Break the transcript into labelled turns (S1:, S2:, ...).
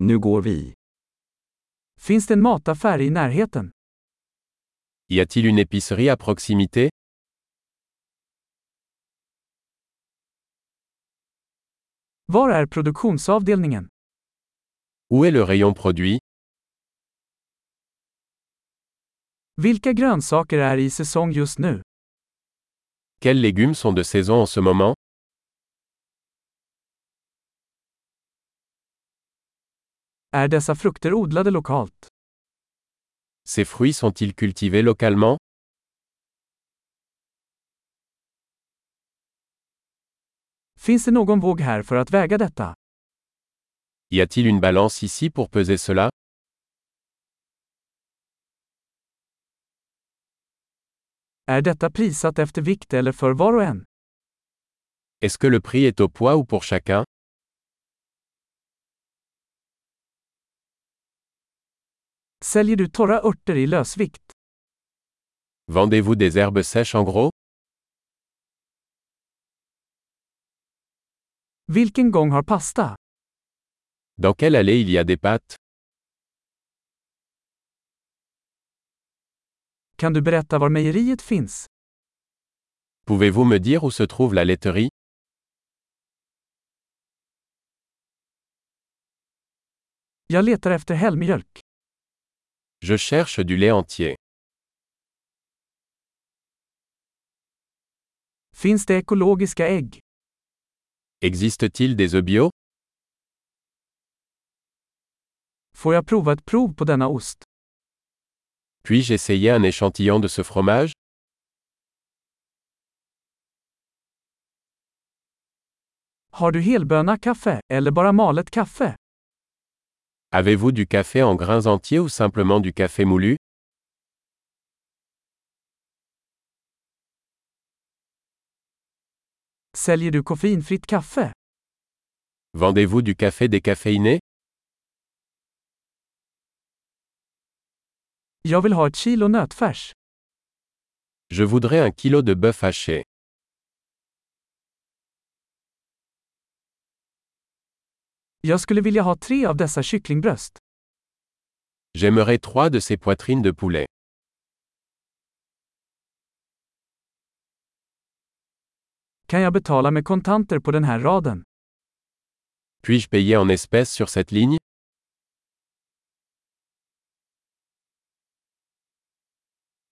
S1: Nu går vi.
S2: Finns det en mataffär i närheten?
S3: Y a-t-il une épicerie à proximité
S2: Var är produktionsavdelningen?
S3: Où est le rayon produit
S2: Vilka grönsaker är i säsong just nu?
S3: Quels légumes sont de saison en ce moment
S2: Är dessa frukter odlade lokalt?
S3: Ces fruits sont-ils cultivés localement
S2: Finns det någon våg här för att väga detta?
S3: Y a-t-il une balance ici pour peser cela
S2: Är detta prissatt efter vikt eller för var och en?
S3: Est-ce que le prix est au poids ou pour chacun
S2: Säljer du torra örter i lösvikt?
S3: Vendez-vous des herbes sèches en gros
S2: Vilken gång har pasta?
S3: Dans quelle allée il y a des pâtes
S2: Kan du berätta var mejeriet finns?
S3: Pouvez-vous me dire où se trouve la laiterie
S2: Jag letar efter helmjölk.
S3: Je cherche du lait entier.
S2: Finns det ekologiska ägg?
S3: Existe-t-il des œufs bio
S2: Får jag prova ett prov på denna ost?
S3: Puis-je essayer un échantillon de ce fromage
S2: Har du helböna kaffe, eller bara malet kaffe?
S3: Avez-vous du café en grains entiers ou simplement du café moulu
S2: Säljer du koffeinfritt kaffe?
S3: Vendez-vous du café décaféiné
S2: Jag vill ha ett kilo nötfärs.
S3: Je voudrais un kilo de bœuf haché.
S2: Jag skulle vilja ha tre av dessa kycklingbröst.
S3: J'aimerais trois de ces poitrines de poulet.
S2: Kan jag betala med kontanter på den här raden?
S3: Puis-je payer en espèces sur cette ligne